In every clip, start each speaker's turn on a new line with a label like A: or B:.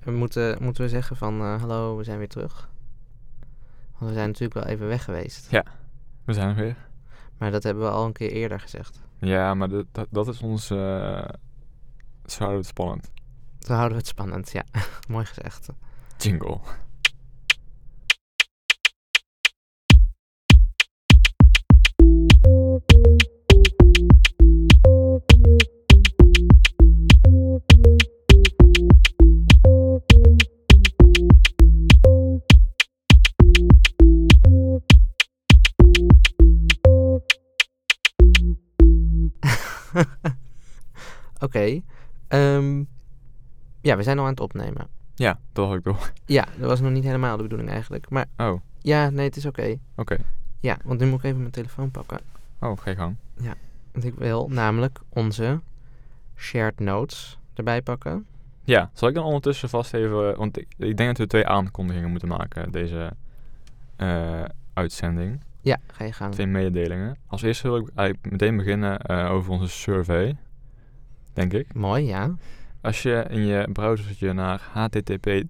A: We moeten, moeten we zeggen van eh, hallo, we zijn weer terug. Want we zijn natuurlijk wel even weg geweest.
B: We zijn er weer.
A: Maar dat hebben we al een keer eerder gezegd.
B: Ja, maar dat, dat, dat is ons... eh zo houden we het spannend.
A: Toen houden we het spannend, ja. Mooi gezegd.
B: Jingle.
A: Oké. ehm, ja, we zijn al aan het opnemen.
B: Ja, dat had ik door.
A: Ja, dat was nog niet helemaal de bedoeling eigenlijk. Maar
B: Oh, oké.
A: ja, nee, het is oké. Ja, want nu moet ik even mijn telefoon pakken.
B: Oh, ga je gang.
A: Want ik wil namelijk onze shared notes erbij pakken.
B: Ja, zal ik dan ondertussen vast even... Want ik, ik denk dat we twee aankondigingen moeten maken, deze eh, uitzending.
A: Ja, ga je gang.
B: Twee mededelingen. Als eerste wil ik eigenlijk meteen beginnen eh, over onze survey, denk ik.
A: Mooi, ja.
B: Als je in je browsertje naar http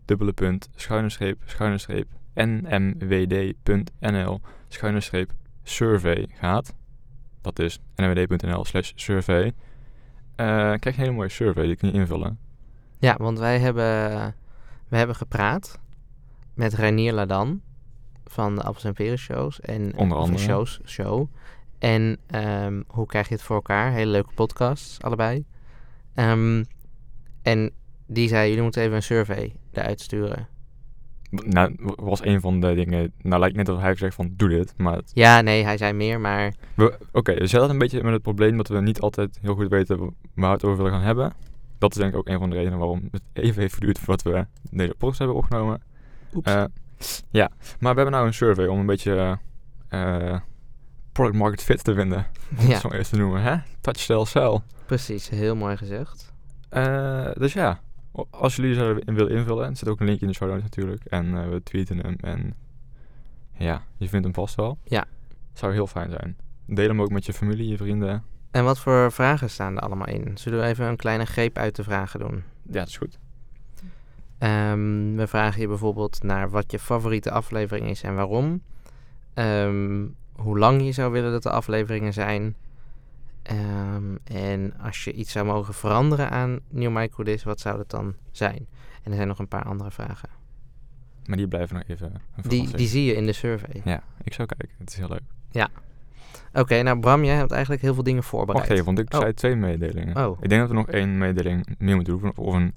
B: schuine streep schuine streep nmwd.nl schuine streep survey gaat, dat is nmwd.nl slash survey, eh, krijg je een hele mooie survey, die kun je invullen.
A: Ja, want wij hebben, we hebben gepraat met Reinier Ladan van de Appels en Peren shows. En,
B: Onder
A: of een
B: andere.
A: Shows, show. En ehm, hoe krijg je het voor elkaar? Hele leuke podcasts, allebei. Ehm, en die zei, jullie moeten even een survey eruit sturen.
B: Nou, was een van de dingen, nou lijkt net alsof hij heeft gezegd van doe dit, maar het-
A: Ja, nee, hij zei meer, maar
B: we- oké, we zaten een beetje met het probleem dat we niet altijd heel goed weten waar we het over willen gaan hebben. Dat is denk ik ook een van de redenen waarom het even heeft geduurd voordat we deze post hebben opgenomen.
A: oeps.
B: Eh, ja, maar we hebben nou een survey om een beetje eh, eh, product market fit te vinden. Om
A: Ja.
B: het zo eerst te noemen, hè? Touch, sell, sell.
A: precies, heel mooi gezegd.
B: Eh, dus ja, o- als jullie zouden willen invullen, er zit ook een linkje in de show notes natuurlijk. En eh, we tweeten hem en ja, je vindt hem vast wel.
A: Ja.
B: Zou heel fijn zijn. Deel hem ook met je familie, je vrienden.
A: En wat voor vragen staan er allemaal in? Zullen we even een kleine greep uit de vragen doen?
B: Ja, dat is goed.
A: Ehm, we vragen je bijvoorbeeld naar wat je favoriete aflevering is en waarom. Ehm, hoe lang je zou willen dat de afleveringen zijn. Ehm, en als je iets zou mogen veranderen aan New Microdis, wat zou dat dan zijn? En er zijn nog een paar andere vragen.
B: Maar die blijven nog even een
A: Die,
B: verrassing.
A: die zie je in de survey.
B: Ja, ik zou kijken. Het is heel leuk.
A: Oké, nou Bram, jij hebt eigenlijk heel veel dingen voorbereid.
B: Wacht even, want ik
A: Oh.
B: zei twee mededelingen.
A: Oh.
B: Ik denk dat we nog één mededeling meer moeten doen, of- of een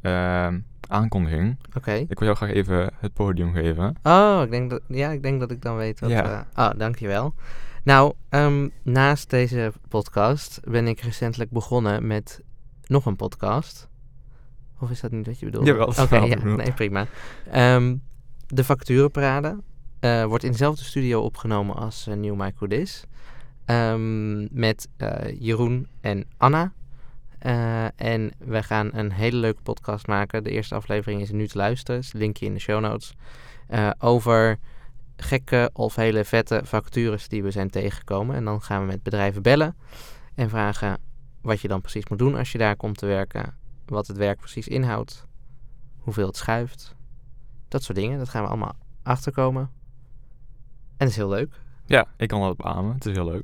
B: ehm, aankondiging.
A: Oké.
B: Ik wil jou graag even het podium geven.
A: Oh, ik denk dat, ja, ik denk dat ik dan weet wat...
B: Ja.
A: eh, oh, dankjewel. Nou, ehm, naast deze podcast ben ik recentelijk begonnen met nog een podcast. Of is dat niet wat je bedoelt?
B: Jawel, dat
A: Oké,
B: is wel wat
A: ja,
B: ik bedoel.
A: nee, prima. Ehm, de Facturenparade eh, wordt in dezelfde studio opgenomen als eh, New Micro Dis. Ehm, met eh, Jeroen en Anna. Eh, en wij gaan een hele leuke podcast maken. De eerste aflevering is nu te luisteren. Is linkje in de show notes. Eh, over gekke of hele vette vacatures die we zijn tegengekomen. En dan gaan we met bedrijven bellen. En vragen wat je dan precies moet doen als je daar komt te werken. Wat het werk precies inhoudt. Hoeveel het schuift. Dat soort dingen. Dat gaan we allemaal achterkomen. En dat is heel leuk.
B: Ja, ik kan dat beamen. Het is heel leuk.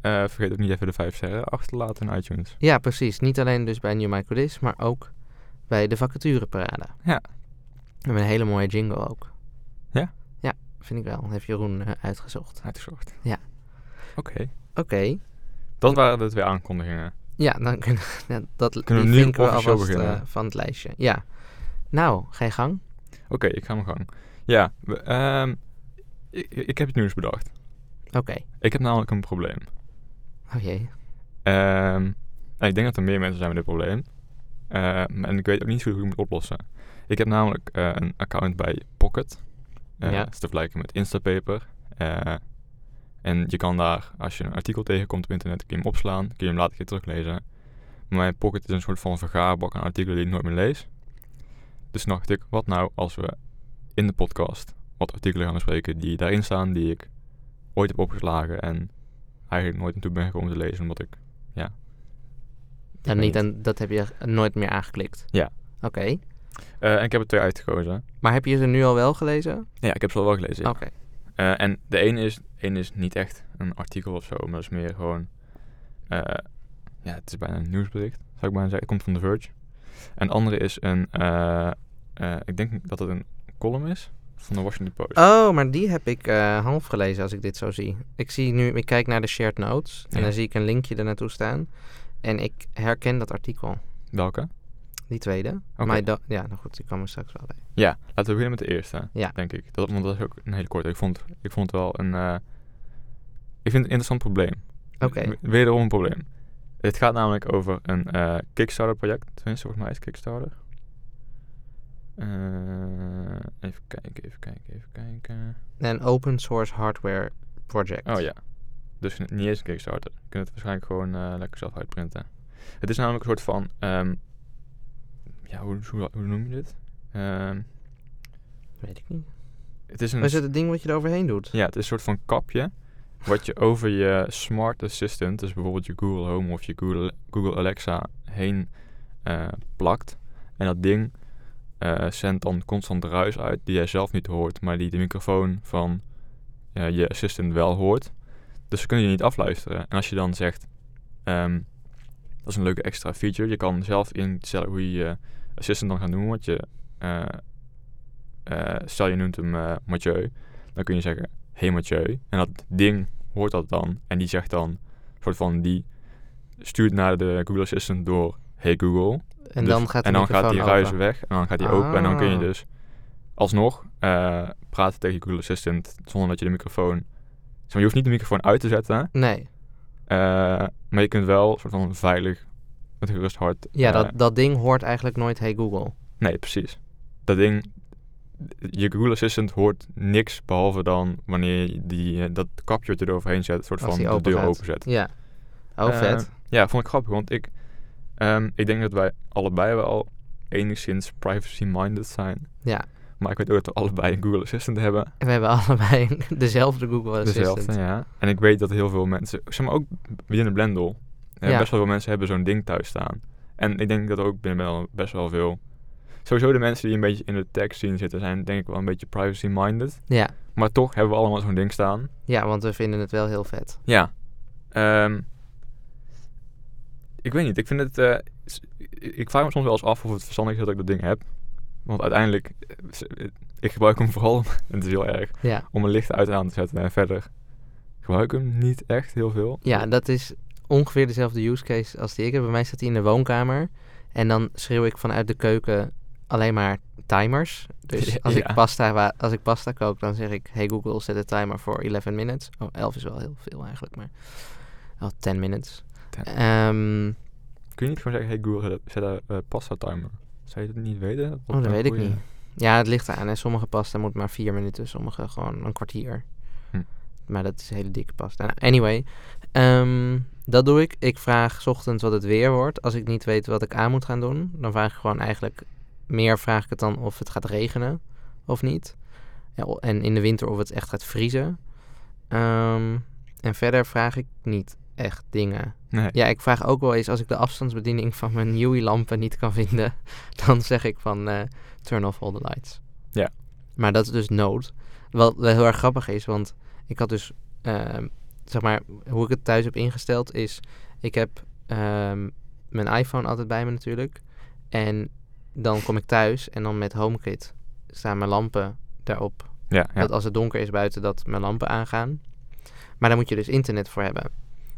B: Eh, vergeet ook niet even de vijf sterren achter te laten in iTunes.
A: Ja, precies. Niet alleen dus bij New Microdis, maar ook bij de vacatureparade.
B: Ja.
A: We hebben een hele mooie jingle ook.
B: Ja?
A: Ja, vind ik wel. Heeft Jeroen eh, uitgezocht.
B: Uitgezocht.
A: Ja.
B: Oké.
A: Oké.
B: Dat waren de twee aankondigingen.
A: Ja, dan kunnen, ja, dat,
B: Kunnen we
A: die
B: nu
A: vinken we
B: officieel
A: alvast, eh,
B: beginnen?
A: van het lijstje. Ja. Nou, geen gang.
B: Oké, ik ga mijn gang. Ja, we- ehm, ik, ik heb het nieuws bedacht.
A: Oké.
B: Ik heb namelijk een probleem.
A: Oh jee.
B: Ehm, en ik denk dat er meer mensen zijn met dit probleem. Ehm, en ik weet ook niet zo goed hoe ik het moet oplossen. Ik heb namelijk eh, een account bij Pocket. Eh,
A: Ja.
B: dat is te vergelijken met Instapaper. Eh, en je kan daar, als je een artikel tegenkomt op internet, kun je hem opslaan. Kun je hem later een keer teruglezen. Maar mijn Pocket is een soort van vergaarbak aan artikelen die ik nooit meer lees. Dus toen dacht ik, wat nou als we in de podcast wat artikelen gaan bespreken die daarin staan, die ik ooit heb opgeslagen en eigenlijk nooit naartoe ben gekomen te lezen, omdat ik
A: Dan
B: weet
A: niet,
B: niet.
A: en dat heb je nooit meer aangeklikt.
B: Ja.
A: Oké.
B: Eh, en ik heb er twee uitgekozen.
A: Maar heb je ze nu al wel gelezen?
B: Ja, ik heb ze al wel gelezen. ja.
A: Oké.
B: Eh, en de ene is, één is niet echt een artikel of zo, maar dat is meer gewoon... eh, ja, het is bijna een nieuwsbericht, zou ik bijna zeggen. Het komt van The Verge. En de andere is een... eh, eh, ik denk dat het een column is van de Washington Post.
A: Oh, maar die heb ik eh, half gelezen als ik dit zo zie. Ik zie nu, ik kijk naar de shared notes en
B: Ja.
A: dan zie ik een linkje er naartoe staan. En ik herken dat artikel,
B: Welke?
A: die tweede.
B: Oké.
A: Maar dat, ja, nou goed, ik kwam er straks wel bij.
B: Ja, laten we beginnen met de eerste,
A: Ja.
B: denk ik. Dat, want dat is ook een hele korte. Ik vond, ik vond het wel een... eh, ik vind het een interessant probleem.
A: Oké.
B: W- Wederom een probleem. Het gaat namelijk over een eh, Kickstarter-project. Tenminste, volgens mij is het Kickstarter. Eh, even kijken, even kijken, even kijken.
A: Een open source hardware project.
B: Oh ja. Dus n- niet eens een Kickstarter. Je kunt het waarschijnlijk gewoon eh, lekker zelf uitprinten. Het is namelijk een soort van... ehm, ja, hoe, hoe, hoe noem je dit? Ehm,
A: Weet ik niet.
B: het is een...
A: Is het het ding wat je eroverheen doet?
B: Ja, het is een soort van kapje. Wat je over je smart assistant, dus bijvoorbeeld je Google Home of je Google, Google Alexa, heen eh, plakt. En dat ding eh, zendt dan constant ruis uit die jij zelf niet hoort, maar die de microfoon van eh, je assistant wel hoort. Dus ze kunnen je niet afluisteren. En als je dan zegt, ehm, dat is een leuke extra feature. Je kan zelf instellen hoe je je assistant dan gaat doen. Want je, eh, eh, stel je noemt hem eh Mathieu, dan kun je zeggen, hey Mathieu. En dat ding hoort dat dan. En die zegt dan, soort van, die stuurt naar de Google Assistant door, hey Google.
A: En
B: Dus-
A: dan gaat de
B: en dan gaat
A: microfoon
B: die ruis
A: open.
B: weg. En dan gaat die open. En dan kun je
A: Ah.
B: dus alsnog eh, praten tegen je Google Assistant zonder dat je de microfoon... Zeg maar, je hoeft niet de microfoon uit te zetten.
A: Nee,
B: eh, maar je kunt wel soort van veilig met een gerust hart...
A: ja,
B: eh,
A: dat, dat ding hoort eigenlijk nooit Hey Google.
B: Nee, precies. Dat ding... Je Google Assistant hoort niks behalve dan wanneer je die, eh, dat kapje wat je eroverheen zet, soort
A: Als
B: van
A: die
B: de deur
A: opengaat.
B: openzet.
A: Ja. Oh,
B: Eh,
A: vet.
B: Ja, vond ik grappig, want ik, ehm, ik denk dat wij allebei wel enigszins privacy-minded zijn.
A: Ja.
B: Maar ik weet ook dat we allebei een Google Assistant hebben.
A: We hebben allebei dezelfde Google Assistant.
B: Dezelfde, ja. En ik weet dat heel veel mensen, zeg maar ook binnen Blendel, eh,
A: Ja.
B: best wel veel mensen hebben zo'n ding thuis staan. En ik denk dat ook binnen wel best wel veel, sowieso de mensen die een beetje in de tech scene zitten, zijn denk ik wel een beetje privacy-minded.
A: Ja.
B: Maar toch hebben we allemaal zo'n ding staan.
A: ja, want we vinden het wel heel vet.
B: Ja. Ehm, ik weet niet. Ik vind het. eh, s- ik ik vraag me soms wel eens af of het verstandig is dat ik dat ding heb. Want uiteindelijk. eh, s- eh, Ik gebruik hem vooral. en het is heel erg.
A: Ja,
B: Om mijn licht uit en aan te zetten. En verder. Gebruik ik hem niet echt heel veel.
A: ja dat is ongeveer dezelfde use case als die ik heb. Bij mij staat die in de woonkamer. En dan schreeuw ik vanuit de keuken alleen maar timers. Dus als,
B: Ja.
A: ik pasta, wa- als ik pasta kook, dan zeg ik... Hey Google, zet de timer voor 11 minutes. Oh, 11 is wel heel veel eigenlijk, maar... Oh, 10 minutes.
B: Ten.
A: Ehm,
B: Kun je niet gewoon zeggen: hey Google, zet de eh, pasta timer? Zou je dat niet weten? Dat
A: oh, dat
B: een
A: weet ik
B: goeie-
A: niet. Ja, het ligt eraan. Hè. Sommige pasta moet maar vier minuten, sommige gewoon een kwartier.
B: Hm.
A: Maar dat is een hele dikke pasta. Nou, anyway, ehm, dat doe ik. Ik vraag 's ochtends wat het weer wordt. Als ik niet weet wat ik aan moet gaan doen, dan vraag ik gewoon eigenlijk... Meer vraag ik het dan of het gaat regenen of niet. Ja, o- en in de winter of het echt gaat vriezen. Ehm, en verder vraag ik niet echt dingen.
B: Nee.
A: Ja, ik vraag ook wel eens als ik de afstandsbediening van mijn Huey-lampen niet kan vinden, dan zeg ik van eh, turn off all the lights.
B: Ja.
A: Maar dat is dus nood. Wat wel heel erg grappig is, want ik had dus, ehm, zeg maar, hoe ik het thuis heb ingesteld is, ik heb ehm, mijn iPhone altijd bij me natuurlijk. En dan kom ik thuis en dan met HomeKit staan mijn lampen daarop
B: Ja, ja.
A: dat als het donker is buiten, dat mijn lampen aangaan. Maar daar moet je dus internet voor hebben.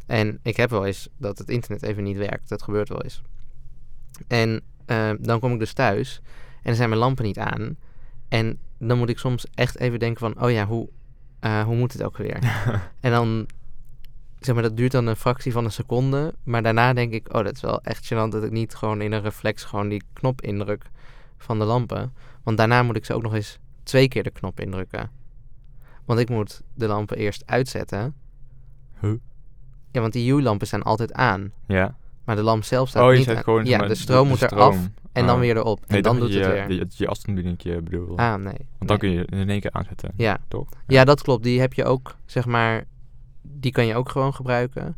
A: En ik heb wel eens dat het internet even niet werkt. Dat gebeurt wel eens. En eh, dan kom ik dus thuis en dan zijn mijn lampen niet aan. En dan moet ik soms echt even denken van... Oh ja, hoe, eh, hoe moet het ook weer? en dan... Zeg maar, dat duurt dan een fractie van een seconde. Maar daarna denk ik... Oh, dat is wel echt gênant dat ik niet gewoon in een reflex... gewoon die knop indruk van de lampen. Want daarna moet ik ze ook nog eens twee keer de knop indrukken. Want ik moet de lampen eerst uitzetten.
B: Huh?
A: Ja, want die U-lampen staan altijd aan.
B: ja.
A: Maar de lamp zelf staat
B: Oh, je
A: niet
B: zet
A: aan.
B: gewoon.
A: ja,
B: maar
A: de stroom moet eraf
B: stroom.
A: en dan
B: Oh.
A: weer erop. En
B: Nee, eh,
A: dan
B: dat
A: doet
B: je,
A: het weer.
B: Je, je afstandsbediening bedoel.
A: ah, nee.
B: Want dan
A: nee.
B: kun je in één keer aanzetten.
A: Ja.
B: Toch?
A: ja, dat klopt. Die heb je ook, zeg maar... Die kan je ook gewoon gebruiken.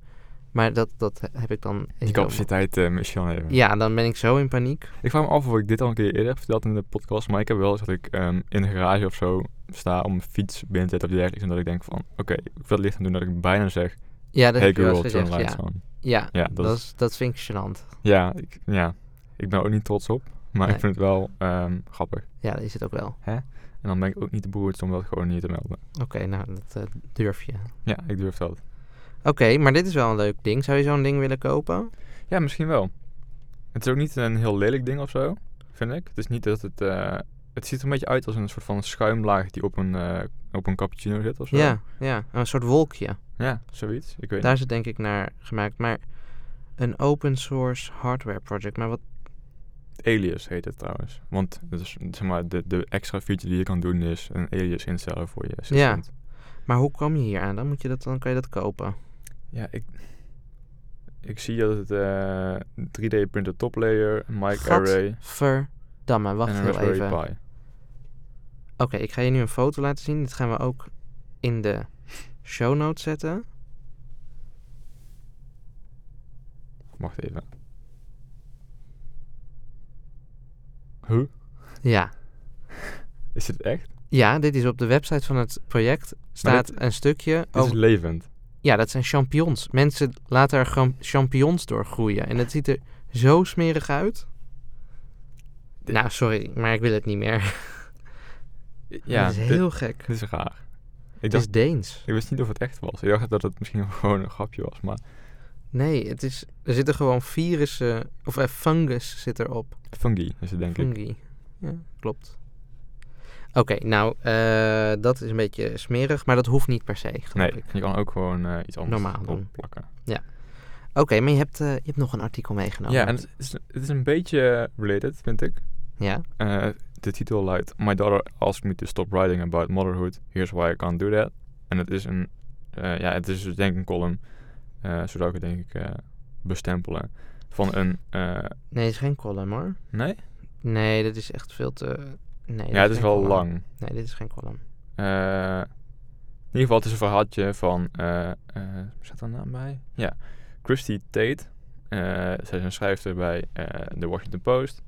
A: Maar dat, dat heb ik dan...
B: Die capaciteit eh misschien wel even.
A: Ja, dan ben ik zo in paniek.
B: Ik vraag me af of ik dit al een keer eerder heb verteld in de podcast. Maar ik heb wel eens dat ik ehm, in de garage of zo sta om mijn fiets binnen te zetten of dergelijks. En dat ik denk van, oké, ik wil het licht aan doen dat ik bijna zeg,
A: Ja, dat
B: hey
A: heb je wel eens
B: Google, turn
A: gezegd,
B: lights
A: ja.
B: on.
A: Ja,
B: Ja, dat,
A: dat,
B: is-
A: is, dat vind ik gênant.
B: ja, ik, ja, ik ben er ook niet trots op. Maar
A: Nee.
B: ik vind het wel ehm, grappig.
A: Ja, dat is het ook wel.
B: En dan ben ik ook niet de beroerdste om dat gewoon niet te melden.
A: Oké, nou, dat eh, durf je. Oké,
B: Ja, ik durf dat.
A: maar dit is wel een leuk ding. Zou je zo'n ding willen kopen?
B: Ja, misschien wel. Het is ook niet een heel lelijk ding of zo, vind ik. Het is niet dat het... eh, het ziet er een beetje uit als een soort van schuimlaag die op een, eh, op een cappuccino zit of zo.
A: Ja, ja, een soort wolkje.
B: Ja, zoiets. Ik weet
A: Daar is het denk ik naar gemaakt. Maar een open source hardware project. Maar wat...
B: niet. Alias heet het trouwens. Want het is, zeg maar, de, de extra feature die je kan doen is een alias instellen voor je assistant.
A: Maar hoe kwam je hier aan? Dan, moet je dat, dan kan je dat kopen.
B: Ja, ik... Ik zie dat het eh 3D printer top layer, een mic array
A: Gadverdamme, wacht
B: en een
A: heel
B: Raspberry
A: even. Oké,
B: Pi.
A: ik ga je nu een foto laten zien. Dit gaan we ook in de show notes zetten.
B: Wacht even. Huh?
A: Ja.
B: Is dit echt?
A: Ja, dit is op de website van het project. Staat
B: dit-
A: een stukje
B: Dit is
A: over...
B: levend.
A: Ja, dat zijn champignons. Mensen laten er gewoon champignons door groeien. En dat ziet er zo smerig uit.
B: Dit-
A: Nou, sorry, maar ik wil het niet meer.
B: Ja,
A: dat is
B: dit-
A: heel gek.
B: dit, is raar.
A: Het
B: Ik,
A: is
B: dacht,
A: Deens.
B: ik wist niet of het echt was. Ik dacht dat het misschien gewoon een grapje was, maar
A: Nee, het is, er zitten gewoon virussen... Of eh, fungus zit erop.
B: fungi is het denk ik.
A: Fungi. Ja, klopt. Oké, nou, eh, dat is een beetje smerig. Maar dat hoeft niet per se, geloof
B: Nee,
A: ik.
B: je kan ook gewoon eh, iets anders
A: Normaal doen.
B: plakken.
A: Oké, maar je hebt, eh, je hebt nog een artikel meegenomen.
B: Ja, en het is, het is een beetje related, vind ik.
A: Ja?
B: Eh, de titel luidt... My daughter asked me to stop writing about motherhood. Here's why I can't do that. En het is een... eh, ja, het is dus denk ik een column. eh zo zou ik het denk ik eh, bestempelen. Van een... eh,
A: Nee, het is geen column, hoor.
B: nee?
A: Nee, dat is echt veel te... Nee,
B: Ja, het is
A: geen
B: wel
A: column.
B: lang.
A: Nee, dit is geen column.
B: Eh, in ieder geval, het is een verhaaltje van... eh eh zat er een naam bij? Ja. Christy Tate. Eh, zij is een schrijfster bij eh The Washington Post.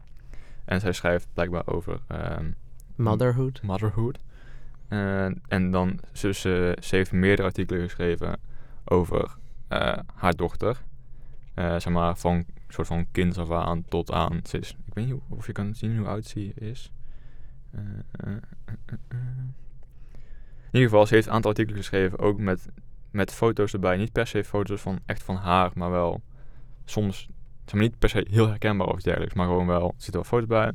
B: En zij schrijft blijkbaar over ehm,
A: Motherhood.
B: motherhood. Eh, en dan, ze, ze, ze heeft meerdere artikelen geschreven over eh, haar dochter. Eh, zeg maar, van soort van kind af aan tot aan... Ze is, ik weet niet hoe- of je kan zien hoe oud ze is. Eh, eh, eh, eh, eh. In ieder geval, ze heeft een aantal artikelen geschreven, ook met, met foto's erbij. Niet per se foto's van echt van haar, maar wel soms, zeg maar niet per se heel herkenbaar of iets dergelijks, maar gewoon wel, er zitten wel foto's bij.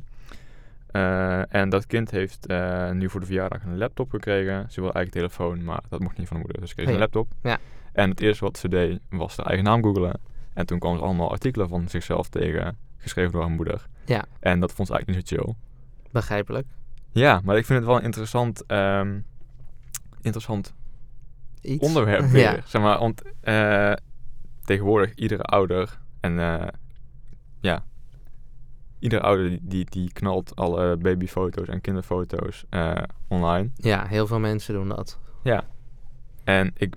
B: Eh, en dat kind heeft eh, nu voor de verjaardag een laptop gekregen. Ze wil eigenlijk een telefoon, maar dat mocht niet van de moeder, dus ze kreeg
A: Oh
B: een
A: ja.
B: laptop.
A: Ja.
B: En het eerste wat ze deed was haar eigen naam googelen. En toen kwam ze allemaal artikelen van zichzelf tegen, geschreven door haar moeder.
A: Ja.
B: En dat vond ze eigenlijk niet zo chill.
A: Begrijpelijk.
B: Ja, maar ik vind het wel een interessant, ehm, interessant
A: Iets.
B: onderwerp weer.
A: Ja.
B: Zeg maar, want eh, tegenwoordig iedere ouder en eh, ja, iedere ouder die, die, die knalt alle babyfoto's en kinderfoto's eh, online.
A: ja, heel veel mensen doen dat.
B: En ik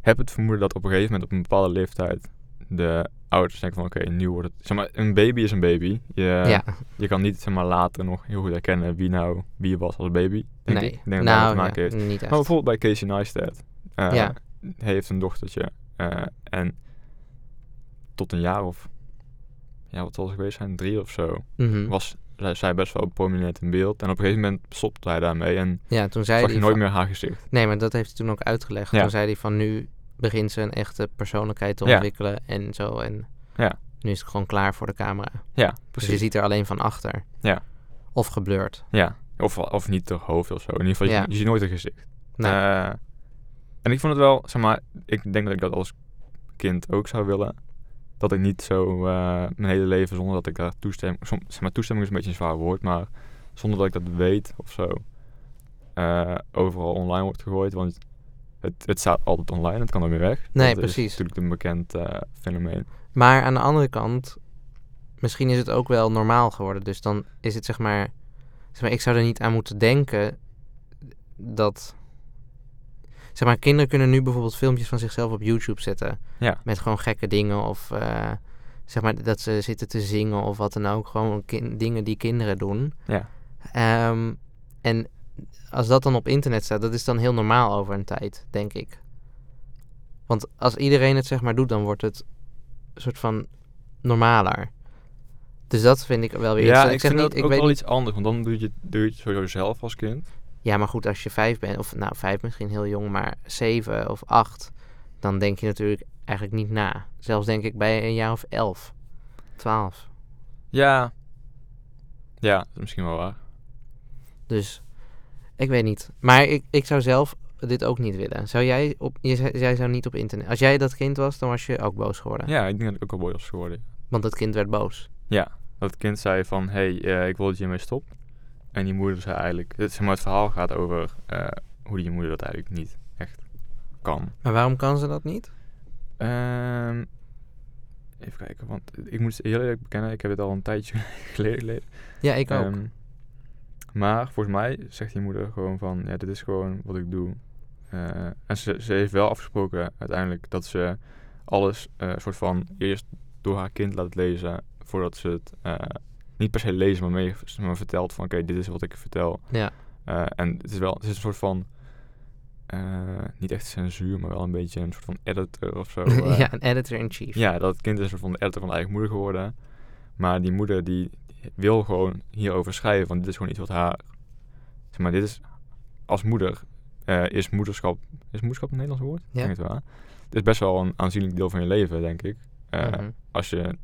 B: heb het vermoeden dat op een gegeven moment op een bepaalde leeftijd de ouders denken van oké, nu wordt het... Zeg maar, een baby is een baby. Je,
A: ja,
B: je kan niet zeg maar, later nog heel goed herkennen wie nou wie was als baby. Denk
A: nee.
B: Ik. Ik denk dat dat
A: nou,
B: te maken
A: ja,
B: heeft.
A: niet echt.
B: Maar bijvoorbeeld bij Casey Neistat. eh,
A: Ja.
B: Hij heeft een dochtertje. eh, en tot een jaar of... Ja, wat zal ze geweest zijn? Drie of zo.
A: Mhm.
B: Was zij- zij best wel prominent in beeld. En op een gegeven moment stopte hij daarmee. En
A: ja, toen zei
B: zag
A: hij...
B: je nooit
A: van-
B: meer haar gezicht.
A: Nee, maar dat heeft hij toen ook uitgelegd.
B: Ja.
A: Toen zei hij van nu begint ze een echte persoonlijkheid te
B: Ja.
A: ontwikkelen en zo. En
B: Ja.
A: nu is het gewoon klaar voor de camera. Dus
B: Ja,
A: je
B: precies.
A: ziet er alleen van achter.
B: Ja.
A: Of geblurred.
B: Ja. Of, of niet haar hoofd of zo. In ieder geval, je-
A: Ja.
B: je, ziet nooit haar gezicht.
A: Nou,
B: Eh, en ik vond het wel, zeg maar... Ik denk dat ik dat als kind ook zou willen. Dat ik niet zo eh, mijn hele leven zonder dat ik daar toestemming... som- zeg maar, toestemming is een beetje een zwaar woord, maar... Zonder dat ik dat weet of zo. eh, overal online wordt gegooid, want... Het, het staat altijd online, het kan ook weer weg.
A: Nee,
B: dat
A: precies.
B: is natuurlijk een bekend eh, fenomeen.
A: maar aan de andere kant, misschien is het ook wel normaal geworden. Dus dan is het zeg maar... Zeg maar ik zou er niet aan moeten denken dat... Zeg maar, kinderen kunnen nu bijvoorbeeld filmpjes van zichzelf op YouTube zetten.
B: Ja.
A: Met gewoon gekke dingen of eh, zeg maar dat ze zitten te zingen of wat dan ook. Gewoon kin- dingen die kinderen doen.
B: Ja.
A: Ehm, en als dat dan op internet staat, dat is dan heel normaal over een tijd, denk ik. Want als iedereen het zeg maar doet, dan wordt het een soort van normaler. Dus dat vind ik wel weer
B: ja,
A: interessant.
B: ik, vind
A: zeg
B: dat
A: niet, ik
B: ook
A: weet
B: wel
A: niet-
B: iets anders, want dan doe je, doe je het sowieso zelf als kind.
A: Ja, maar goed, als je vijf bent, of nou vijf misschien heel jong, maar zeven of acht, dan denk je natuurlijk eigenlijk niet na. Zelfs denk ik bij een jaar of elf, twaalf.
B: Ja. Ja, dat is misschien wel waar.
A: Dus ik weet niet. Maar ik, ik zou zelf dit ook niet willen. Zou jij op, je zei- jij zou niet op internet. Als jij dat kind was, dan was je ook boos geworden.
B: Ja, ik denk dat ik ook al boos was geworden.
A: Want dat kind werd boos.
B: Dat het kind zei van, hé, hey, eh, ik wil dat je hiermee stopt. En die moeder zei eigenlijk, het, zeg maar, het verhaal gaat over eh, hoe die moeder dat eigenlijk niet echt kan.
A: Maar waarom kan ze dat niet?
B: Ehm, even kijken, want ik moet heel eerlijk bekennen, ik heb het al een tijdje geleden. gelezen.
A: Ja, ik ook.
B: Ehm, maar volgens mij zegt die moeder gewoon van, ja, dit is gewoon wat ik doe. Eh, en ze, ze heeft wel afgesproken uiteindelijk dat ze alles eh soort van eerst door haar kind laat lezen voordat ze het eh, niet per se lezen, maar, mee, maar vertelt van, oké, dit is wat ik vertel.
A: Ja.
B: Eh, en het is wel, het is een soort van, eh, niet echt censuur, maar wel een beetje een soort van editor of zo. eh,
A: ja, een editor-in-chief.
B: ja, dat kind is een soort van de editor van de eigen moeder geworden. Maar die moeder die wil gewoon hierover schrijven, want dit is gewoon iets wat haar... Zeg maar, dit is... Als moeder eh, is moederschap... Is moederschap een Nederlands woord? Ik
A: Ja.
B: denk het wel. Het is best wel een aanzienlijk deel van je leven, denk ik. Eh,
A: Mhm.
B: Als je,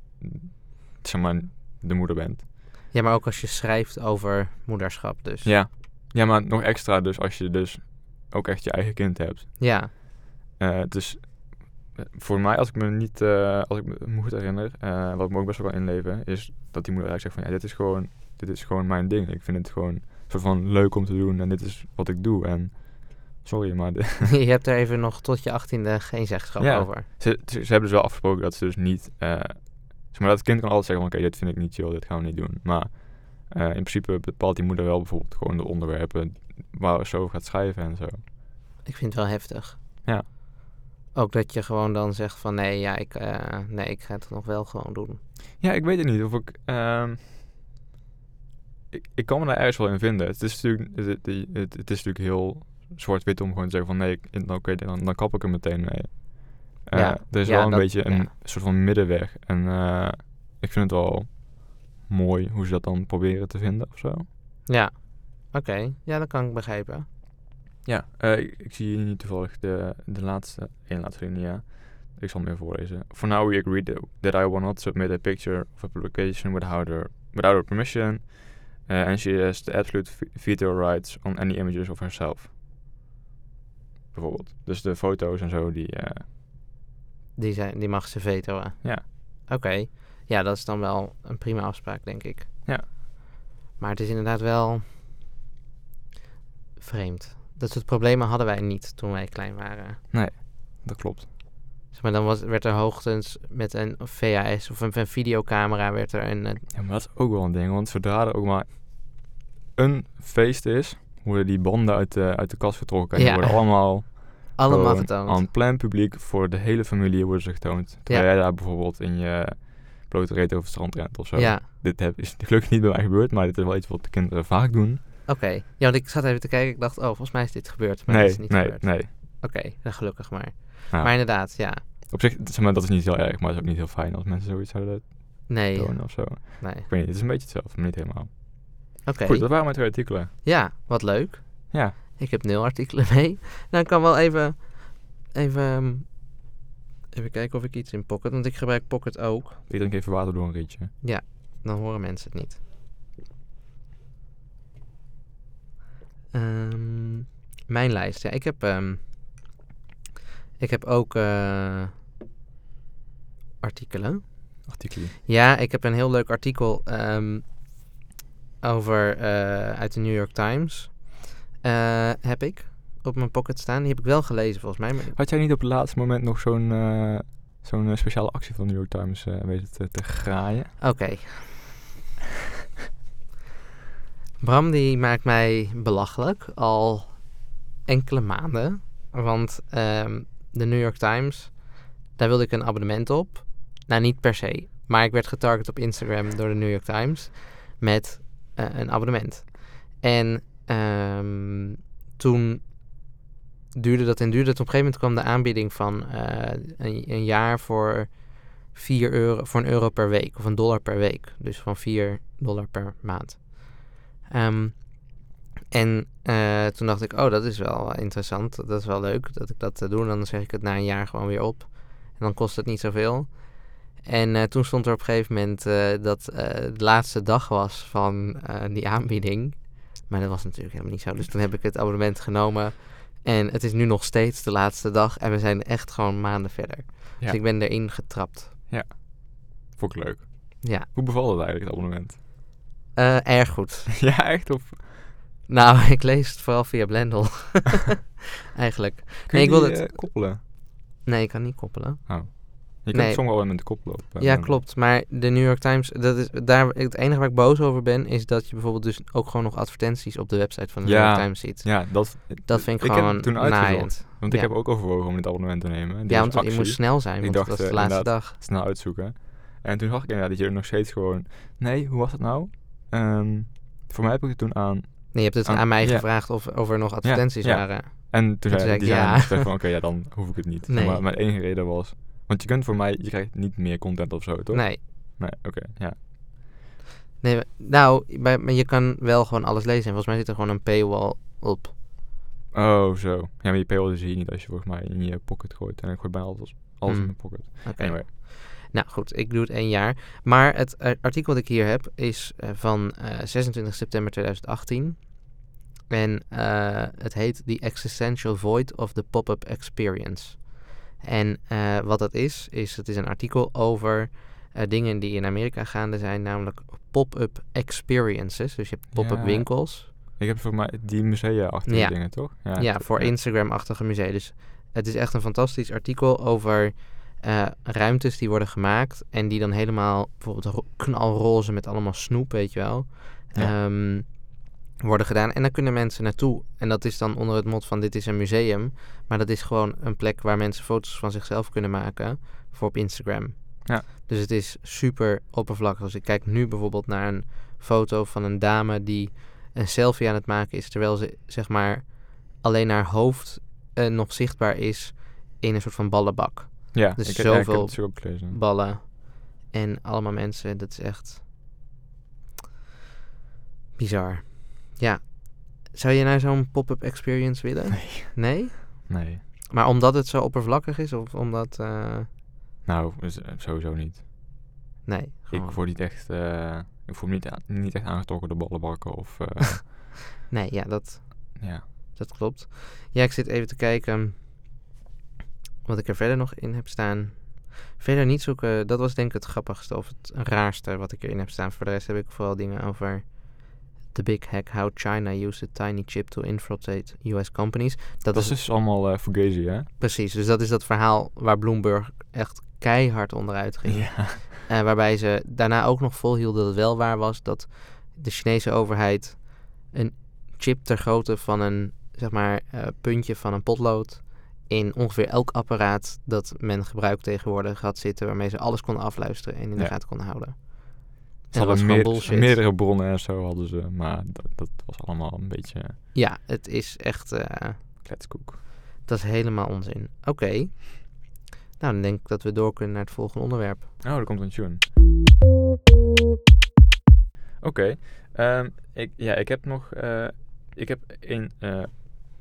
B: zeg maar, de moeder bent.
A: ja, maar ook als je schrijft over moederschap dus.
B: Ja. Ja, maar nog extra dus als je dus ook echt je eigen kind hebt.
A: Ja.
B: Eh, dus eh, voor mij, als ik me niet, eh, als ik me- me goed herinner, eh, wat me ook best wel kan inleven, is dat die moeder eigenlijk zegt van ja, dit is gewoon, dit is gewoon mijn ding. Ik vind het gewoon een soort van leuk om te doen en dit is wat ik doe. En sorry, maar de-
A: je hebt er even nog tot je achttiende geen zeggenschap
B: Ja.
A: over.
B: ze, ze, ze hebben dus wel afgesproken dat ze dus niet, eh, zeg maar dat het kind kan altijd zeggen van oké, dit vind ik niet chill, dit gaan we niet doen. Maar eh, in principe bepaalt die moeder wel bijvoorbeeld gewoon de onderwerpen waar ze over gaat schrijven en zo.
A: Ik vind het wel heftig.
B: Ja.
A: Ook dat je gewoon dan zegt van nee, ja, ik, eh, nee, ik ga het nog wel gewoon doen.
B: Ja, ik weet het niet of ik, ehm, ik. Ik kan me daar ergens wel in vinden. Het is natuurlijk, het, het, het- het is natuurlijk heel zwart-wit om gewoon te zeggen van nee, ik- oké, dan, dan kap ik er meteen mee. Eh,
A: Ja,
B: er is
A: ja,
B: wel een
A: dat-
B: beetje een
A: ja.
B: soort van middenweg. En eh, ik vind het wel mooi hoe ze dat dan proberen te vinden of zo.
A: Ja. Oké, ja, dat kan ik begrijpen.
B: Ja, eh, ik, ik zie hier niet toevallig de, de laatste, één laatste linia. Ik zal hem even voorlezen. For now we agree that- that I will not submit a picture of a publication without her, without her permission. eh, and she has the absolute ve- veto rights on any images of herself. Bijvoorbeeld. Dus de foto's en zo, die... eh,
A: Die, zijn, die mag ze vetoen.
B: Ja.
A: Oké, ja, dat is dan wel een prima afspraak, denk ik.
B: Ja.
A: Maar het is inderdaad wel vreemd. Dat soort problemen hadden wij niet toen wij klein waren.
B: dat klopt.
A: Zeg maar, dan was, werd er hoogstens met een VHS of een, een videocamera werd er een... eh,
B: Ja, maar dat is ook wel een ding. Want zodra er ook maar een feest is, worden die banden uit de, uit de kast getrokken. En
A: Ja.
B: die worden allemaal...
A: allemaal
B: Gewoon
A: getoond.
B: Aan plein publiek voor de hele familie worden ze getoond. Terwijl jij daar bijvoorbeeld in je blote reet over het strand rent of zo.
A: ja.
B: Dit heb, is gelukkig niet bij mij gebeurd, maar dit is wel iets wat de kinderen vaak doen.
A: Oké. Ja, want ik zat even te kijken. Ik dacht, oh, volgens mij is dit gebeurd. Maar het
B: nee,
A: is niet
B: nee,
A: gebeurd.
B: nee. Nou.
A: Oké, dan gelukkig maar.
B: Ja.
A: Maar inderdaad, ja.
B: Op zich, zeg maar, dat is niet heel erg, maar het is ook niet heel fijn als mensen zoiets zouden
A: Nee,
B: tonen of zo.
A: nee.
B: Ik weet niet, het is een beetje hetzelfde, maar niet helemaal.
A: Oké.
B: Goed, dat waren mijn twee artikelen.
A: Ja, wat leuk.
B: Ja.
A: Ik heb nul artikelen mee. Nou, ik kan wel even... Even... ehm, Even kijken of ik iets in Pocket... Want ik gebruik Pocket ook.
B: Ik drink even water door een rietje.
A: Dan horen mensen het niet. Ehm, mijn lijst, ja. Ik heb, ehm, ik heb ook eh, artikelen.
B: Artikelen.
A: Ja, ik heb een heel leuk artikel ehm, over eh, uit de New York Times. Eh, heb ik op mijn pocket staan. Die heb ik wel gelezen volgens mij. maar-
B: Had jij niet op het laatste moment nog zo'n eh, zo'n eh, speciale actie van de New York Times eh, weten te, te graaien?
A: Oké. Bram die maakt mij belachelijk al enkele maanden. Want ehm, de New York Times, daar wilde ik een abonnement op. Nou, niet per se. Maar ik werd getarget op Instagram door de New York Times met eh, een abonnement. En ehm, toen duurde dat en duurde het. Op een gegeven moment kwam de aanbieding van eh, een, een jaar voor 4 euro, voor een euro per week. Of een dollar per week. Dus van 4 dollar per maand. Ehm, en eh, toen dacht ik, oh, dat is wel interessant. Dat is wel leuk dat ik dat eh, doe. En dan zeg ik het na een jaar gewoon weer op. En dan kost het niet zoveel. En eh, toen stond er op een gegeven moment eh, dat eh, de laatste dag was van eh, die aanbieding. Maar dat was natuurlijk helemaal niet zo. Dus toen heb ik het abonnement genomen. En het is nu nog steeds de laatste dag. En we zijn echt gewoon maanden verder. Dus
B: Ja.
A: ik ben erin getrapt.
B: Vond ik leuk.
A: Ja.
B: Hoe bevalt het eigenlijk, het abonnement?
A: Eh, erg goed.
B: ja, echt? Of
A: Nou, ik lees het vooral via Blendel. Eigenlijk.
B: kun je
A: ik wil
B: die,
A: het-
B: eh, koppelen?
A: Nee, ik kan niet koppelen.
B: Je
A: Nee.
B: kunt sommige elementen koppelen. Op, eh,
A: Ja,
B: Blender.
A: klopt. Maar de New York Times, dat is daar. Het enige waar ik boos over ben, is dat je bijvoorbeeld dus ook gewoon nog advertenties op de website van de New
B: Ja.
A: York Times ziet.
B: Ja, dat,
A: Dat vind ik,
B: ik
A: gewoon
B: heb het toen
A: naaiend.
B: uitgezocht. Want ik
A: Ja.
B: heb ook overwogen om dit abonnement te nemen. Die
A: Ja,
B: was
A: want je
B: actie.
A: moest snel zijn,
B: Ik
A: want
B: dacht,
A: het was de
B: eh,
A: laatste dag.
B: snel uitzoeken. En toen zag ik inderdaad dat je er nog steeds gewoon... Nee, hoe was het nou? Ehm, voor mij heb ik het toen aan...
A: Nee, je hebt het
B: Ah,
A: aan mij
B: ja.
A: gevraagd of, of er nog advertenties
B: ja.
A: waren.
B: En toen,
A: Toen
B: zei
A: zei
B: die
A: ik,
B: zei
A: ja.
B: dan van... Oké, ja, dan hoef ik het niet.
A: Nee.
B: Maar mijn enige reden was... Want je kunt voor mij... Je krijgt niet meer content of zo, toch?
A: Nee.
B: Nee, oké, ja.
A: nee maar- nou, bij, maar je kan wel gewoon alles lezen. En volgens mij zit er gewoon een paywall op.
B: Oh, zo. Ja, maar je paywall zie je niet als je volgens mij in je pocket gooit. En ik gooi bijna alles, alles
A: Hmm.
B: in mijn pocket.
A: Oké.
B: Anyway.
A: Nou goed, ik doe het één jaar. Maar het eh, artikel dat ik hier heb is eh, van eh, 26 september 2018. En eh, het heet The Existential Void of the Pop-Up Experience. En eh, wat dat is, is het is een artikel over eh, dingen die in Amerika gaande zijn, namelijk pop-up experiences. Dus je hebt pop-up
B: Ja.
A: winkels.
B: Ik heb voor mij die musea-achtige
A: Ja.
B: dingen, toch?
A: Ja,
B: toch,
A: voor Instagram-achtige musea. Dus het is echt een fantastisch artikel over eh, ruimtes die worden gemaakt. En die dan helemaal, bijvoorbeeld ro- knalroze met allemaal snoep, weet je wel.
B: Ja.
A: ehm, worden gedaan. En daar kunnen mensen naartoe. En dat is dan onder het mot van dit is een museum. Maar dat is gewoon een plek waar mensen foto's van zichzelf kunnen maken. Voor op Instagram.
B: Ja.
A: Dus het is super oppervlakkig. Als ik kijk nu bijvoorbeeld naar een foto van een dame die een selfie aan het maken is. Terwijl ze zeg maar alleen haar hoofd eh, nog zichtbaar is in een soort van ballenbak
B: Ja,
A: Dus
B: ik, ja, ik heb
A: zoveel
B: het zo ook gelezen.
A: ballen. En allemaal mensen, dat is echt bizar. Ja. Zou je nou zo'n pop-up experience willen?
B: Nee.
A: Nee?
B: Nee.
A: Maar omdat het zo oppervlakkig is of omdat... eh,
B: Nou, dus, eh, sowieso niet.
A: Nee,
B: Ik
A: gewoon.
B: word niet echt... eh, ik voel me niet, a- niet echt aangetrokken door ballenbakken of... eh,
A: Nee, ja, dat,
B: ja.
A: dat klopt. Ja, ik zit even te kijken wat ik er verder nog in heb staan. Verder niet zoeken, dat was denk ik het grappigste of het raarste wat ik erin heb staan. Voor de rest heb ik vooral dingen over The Big Hack, How China Used a Tiny Chip to Infiltrate US Companies. Dat,
B: Dat,
A: is
B: is dus allemaal eh fugazi, hè?
A: precies, dus dat is dat verhaal waar Bloomberg echt keihard onderuit ging.
B: Ja.
A: Eh, waarbij ze daarna ook nog volhielden dat het wel waar was dat de Chinese overheid een chip ter grootte van een zeg maar, eh, puntje van een potlood in ongeveer elk apparaat dat men gebruikt tegenwoordig had zitten, waarmee ze alles konden afluisteren en in de
B: Ja.
A: gaten konden houden.
B: Ze
A: En dat was
B: hadden
A: gewoon
B: meer-
A: bullshit.
B: meerdere bronnen en zo hadden ze, maar dat, dat was allemaal een beetje
A: Ja, het is echt, eh,
B: kletskoek.
A: dat is helemaal onzin. Oké, nou dan denk ik dat we door kunnen naar het volgende onderwerp.
B: Oh, er komt een tune. Oké. ehm, ik, ja, ik heb nog... eh, ik heb in,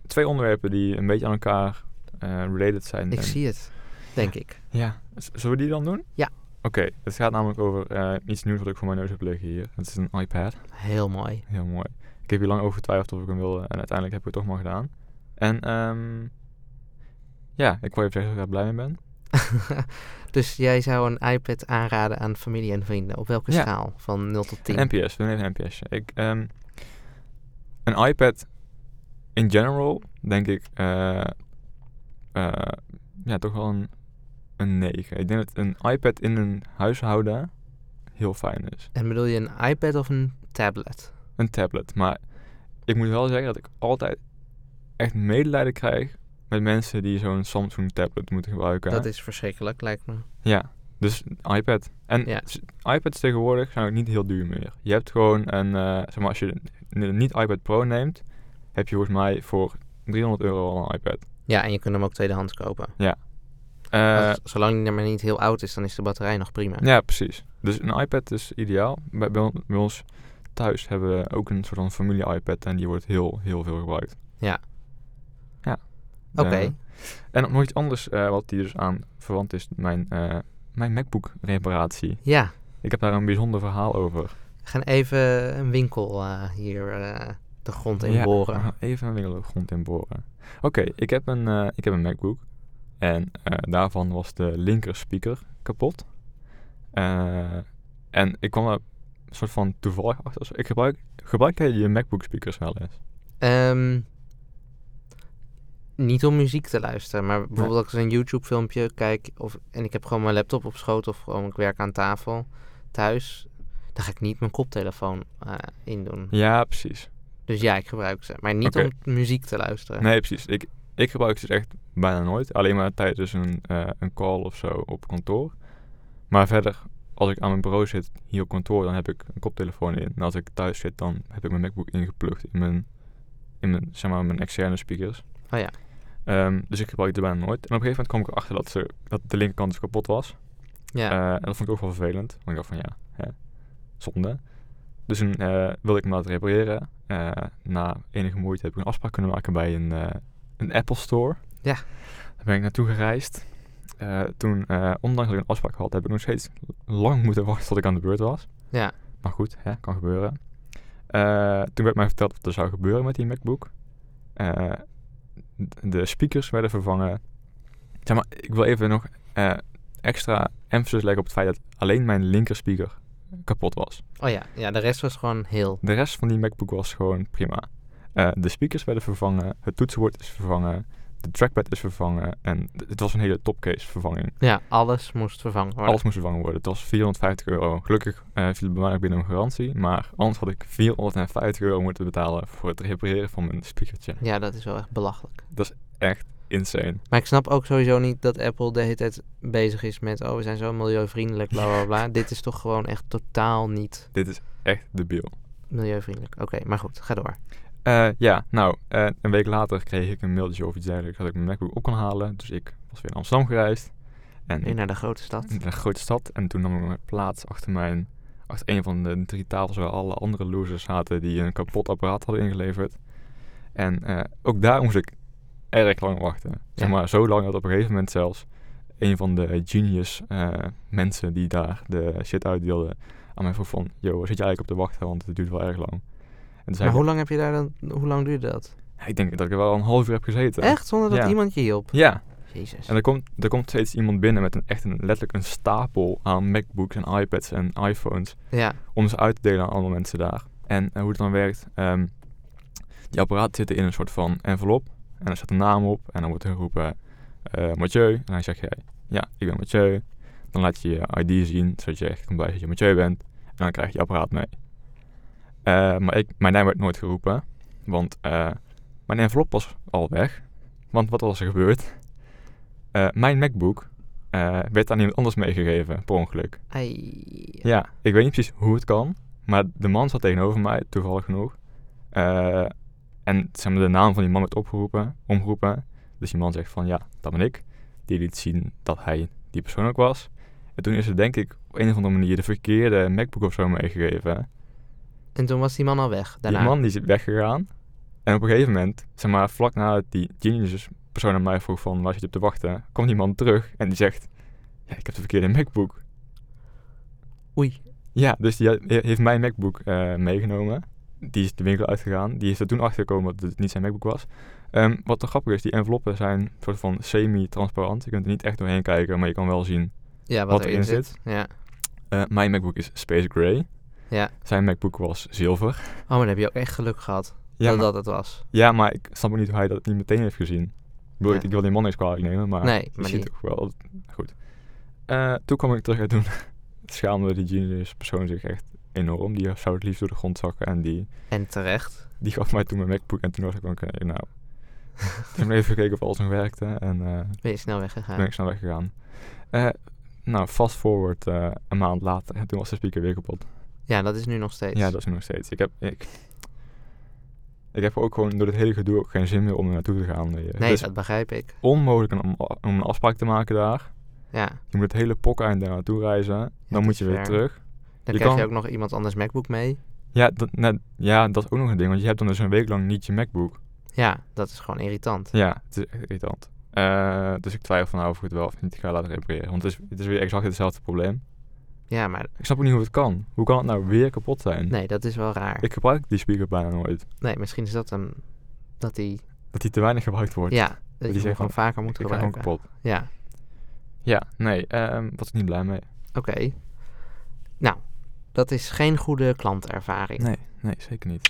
B: twee onderwerpen die een beetje aan elkaar eh, related zijn.
A: Ik
B: en-
A: zie het, denk ik.
B: Ja, z- zullen we die dan doen?
A: Ja.
B: Oké, het gaat namelijk over eh, iets nieuws wat ik voor mijn neus heb liggen hier. Het is een iPad.
A: Heel mooi.
B: Heel mooi. Ik heb hier lang over getwijfeld of ik hem wilde en uiteindelijk heb ik het toch maar gedaan. En ehm, ja, ik wil even zeggen dat ik daar blij mee ben.
A: dus jij zou een iPad aanraden aan familie en vrienden. Op welke
B: Ja.
A: schaal? Van 0 tot 10?
B: Een NPS, we doen even een NPS. Ik, ehm, een iPad in general, denk ik, eh, eh, ja, toch wel een, een 9. Ik denk dat een iPad in een huishouden heel fijn is.
A: En bedoel je een iPad of een tablet?
B: een tablet. Maar ik moet wel zeggen dat ik altijd echt medelijden krijg met mensen die zo'n Samsung tablet moeten gebruiken.
A: Dat is verschrikkelijk, lijkt me.
B: Ja, dus een iPad. En
A: Ja.
B: s- iPads tegenwoordig zijn ook niet heel duur meer. Je hebt gewoon een, eh, zeg maar, als je een niet iPad Pro neemt, heb je volgens mij voor 300 euro al een iPad.
A: Ja, en je kunt hem ook tweedehands kopen.
B: Eh,
A: Als- zolang hij maar niet heel oud is, dan is de batterij nog prima.
B: ja, precies. Dus een iPad is ideaal. Bij, bij, on- bij ons thuis hebben we ook een soort van familie-iPad en die wordt heel, heel veel gebruikt.
A: Ja.
B: Ja.
A: Oké.
B: Eh, en nog iets anders eh, wat hier dus aan verwant is, mijn, eh, mijn MacBook-reparatie.
A: Ja,
B: Ik heb daar een bijzonder verhaal over.
A: we gaan even een winkel eh, hier eh, de grond in boren.
B: Ja, even een winkel de grond in boren. Oké, ik, heb een, eh, ik heb een MacBook. En eh, daarvan was de linker speaker kapot. Eh, en ik kwam er een soort van toevallig achter. Dus Ik gebruik, gebruik jij je MacBook speakers wel eens?
A: Ehm, niet om muziek te luisteren, maar bijvoorbeeld als ik een YouTube filmpje kijk of, en ik heb gewoon mijn laptop op schoot of gewoon ik werk aan tafel thuis, dan ga ik niet mijn koptelefoon eh, in doen.
B: Ja, precies.
A: Dus ja, ik gebruik ze, maar niet
B: Oké.
A: om muziek te luisteren.
B: Nee, precies. Ik, ik gebruik ze dus echt bijna nooit. Alleen maar tijdens een, eh, een call of zo op kantoor. Maar verder, als ik aan mijn bureau zit hier op kantoor, dan heb ik een koptelefoon in. En als ik thuis zit, dan heb ik mijn MacBook ingeplukt in mijn, in mijn, zeg maar, mijn externe speakers.
A: Oh ja.
B: Ehm, dus ik gebruik het bijna nooit. En op een gegeven moment kwam ik erachter dat, ze, dat de linkerkant dus kapot was.
A: Ja.
B: Eh, en dat vond ik ook wel vervelend. Want ik dacht van ja, hè, zonde. Dus toen eh, wilde ik hem laten repareren. Eh, na enige moeite heb ik een afspraak kunnen maken bij een, eh, een Apple Store.
A: Ja.
B: Daar ben ik naartoe gereisd. Eh, toen, eh, ondanks dat ik een afspraak had, heb ik nog steeds lang moeten wachten tot ik aan de beurt was.
A: Ja.
B: Maar goed, hè, kan gebeuren. Eh, toen werd mij verteld wat er zou gebeuren met die MacBook. Eh, d- de speakers werden vervangen. Zeg maar, ik wil even nog eh, extra emphasis leggen op het feit dat alleen mijn linker speaker kapot was.
A: Oh ja, ja, de rest was gewoon heel.
B: De rest van die MacBook was gewoon prima. Eh, de speakers werden vervangen, het toetsenbord is vervangen, de trackpad is vervangen en d- het was een hele topcase vervanging.
A: Ja, alles moest vervangen worden.
B: Alles moest vervangen worden. Het was 450 euro. Gelukkig eh, viel het bij mij ook binnen een garantie, maar anders had ik 450 euro moeten betalen voor het repareren van mijn speakertje.
A: Ja, dat is wel echt belachelijk.
B: Insane.
A: Maar ik snap ook sowieso niet dat Apple de hele tijd bezig is met... oh, we zijn zo milieuvriendelijk, bla bla bla. Dit is toch gewoon echt totaal niet
B: Dit is echt debiel.
A: milieuvriendelijk. Oké, maar goed, ga door.
B: Eh, ja, nou, eh, een week later kreeg ik een mailtje of iets dergelijks dat ik mijn MacBook op kon halen. Dus ik was weer naar Amsterdam gereisd. En
A: Nu naar de grote stad.
B: naar de grote stad. En toen nam ik mijn plaats achter mijn... Achter een van de drie tafels waar alle andere losers zaten die een kapot apparaat hadden ingeleverd. En eh, ook daar moest ik erg lang wachten. Zeg
A: Ja.
B: maar zo lang dat op een gegeven moment zelfs een van de genius eh, mensen die daar de shit uitdeelde aan mij vroeg van... Yo, waar zit je eigenlijk op te wachten? Want het duurt wel erg lang. En toen zei
A: Maar
B: ik,
A: hoe lang heb je daar dan... Hoe lang duurde dat?
B: ja, ik denk dat ik er wel een half uur heb gezeten.
A: Echt? Zonder dat
B: Ja.
A: iemand je hielp?
B: Ja.
A: Jezus.
B: En er komt, er komt steeds iemand binnen met een, echt een, letterlijk een stapel aan MacBooks en iPads en iPhones.
A: Ja,
B: Om ze uit te delen aan allemaal mensen daar. En eh, hoe het dan werkt, ehm, die apparaten zitten in een soort van envelop. En er staat een naam op. En dan wordt er geroepen, eh Mathieu. En dan zeg jij, ja, ik ben Mathieu. Dan laat je je ID zien, zodat je echt kan blijven dat je Mathieu bent. En dan krijg je je apparaat mee. Eh, maar ik, mijn naam werd nooit geroepen. Want eh, mijn envelop was al weg. Want wat was er gebeurd? Eh, mijn MacBook eh, werd aan iemand anders meegegeven, per ongeluk.
A: ei.
B: Ja, ik weet niet precies hoe het kan, maar de man zat tegenover mij, toevallig genoeg. Eh, en zeg maar, de naam van die man werd opgeroepen, omgeroepen. Dus die man zegt van, ja, dat ben ik. Die liet zien dat hij die persoon ook was. En toen is er denk ik op een of andere manier de verkeerde MacBook of zo meegegeven.
A: En toen was die man al weg daarna.
B: Die man die is weggegaan. En op een gegeven moment, zeg maar vlak nadat die genius persoon aan mij vroeg van, waar zit je op te wachten? Komt die man terug en die zegt, ja, ik heb de verkeerde MacBook.
A: Oei.
B: Ja, dus die he- heeft mijn MacBook eh, meegenomen. Die is de winkel uitgegaan. Die is er toen achtergekomen dat het niet zijn MacBook was. Ehm, wat toch grappig is, die enveloppen zijn een soort van semi-transparant. Je kunt er niet echt doorheen kijken, maar je kan wel zien.
A: Ja, wat,
B: Wat
A: erin
B: erin
A: zit. Ja.
B: Eh, mijn MacBook is Space Gray.
A: Ja.
B: Zijn MacBook was zilver.
A: Oh, maar dan heb je ook echt geluk gehad
B: Ja,
A: dat
B: maar,
A: dat het was.
B: ja, maar ik snap ook niet hoe hij dat niet meteen heeft gezien. Ik, bedoel,
A: Ja.
B: ik wil die man niks kwalijk nemen, maar
A: nee,
B: Ah, je
A: maar
B: ziet
A: die...
B: toch wel. dat- Goed. Eh, toen kwam ik terug en toen schaamde die genius persoon zich echt enorm. Die zou het liefst door de grond zakken en die
A: En terecht.
B: Die gaf mij toen mijn MacBook en toen was ik van, oké, nou, Ik heb even gekeken of alles nog werkte en eh,
A: Ben je snel weggegaan?
B: ben ik snel weggegaan. Eh, nou, fast forward eh, een maand later. En toen was de speaker weer kapot.
A: Ja, dat is nu nog steeds.
B: Ja, dat is nu nog steeds. Ik heb, ik, ik heb ook gewoon door het hele gedoe ook geen zin meer om er naartoe te gaan. Je- Dus
A: nee,
B: het is
A: dat begrijp ik.
B: onmogelijk om, om een afspraak te maken daar.
A: Ja.
B: Je moet het hele pokeind daar naartoe reizen.
A: dat
B: dan moet je
A: is
B: weer
A: waar.
B: terug.
A: Dan
B: Je
A: krijg je
B: kan-
A: ook nog iemand anders MacBook mee.
B: Ja dat, net- ja, dat is ook nog een ding. Want je hebt dan dus een week lang niet je MacBook.
A: Ja, dat is gewoon irritant.
B: Ja, het is echt irritant. Eh, dus ik twijfel van nou of ik het wel of niet ga laten repareren. Want het is, het is weer exact hetzelfde probleem.
A: Ja, maar
B: Ik snap ook niet hoe het kan. Hoe kan het nou weer kapot zijn?
A: nee, dat is wel raar.
B: Ik gebruik die speaker bijna nooit.
A: Nee, misschien is dat hem. Dat die.
B: Dat die te weinig gebruikt wordt.
A: Ja, dat je hem
B: zegt
A: gewoon vaker moet
B: ik ga gewoon
A: gebruiken.
B: kapot.
A: Ja,
B: Ja, nee, ehm was ik niet blij mee.
A: oké. Nou, dat is geen goede klantervaring.
B: Nee, nee, zeker niet.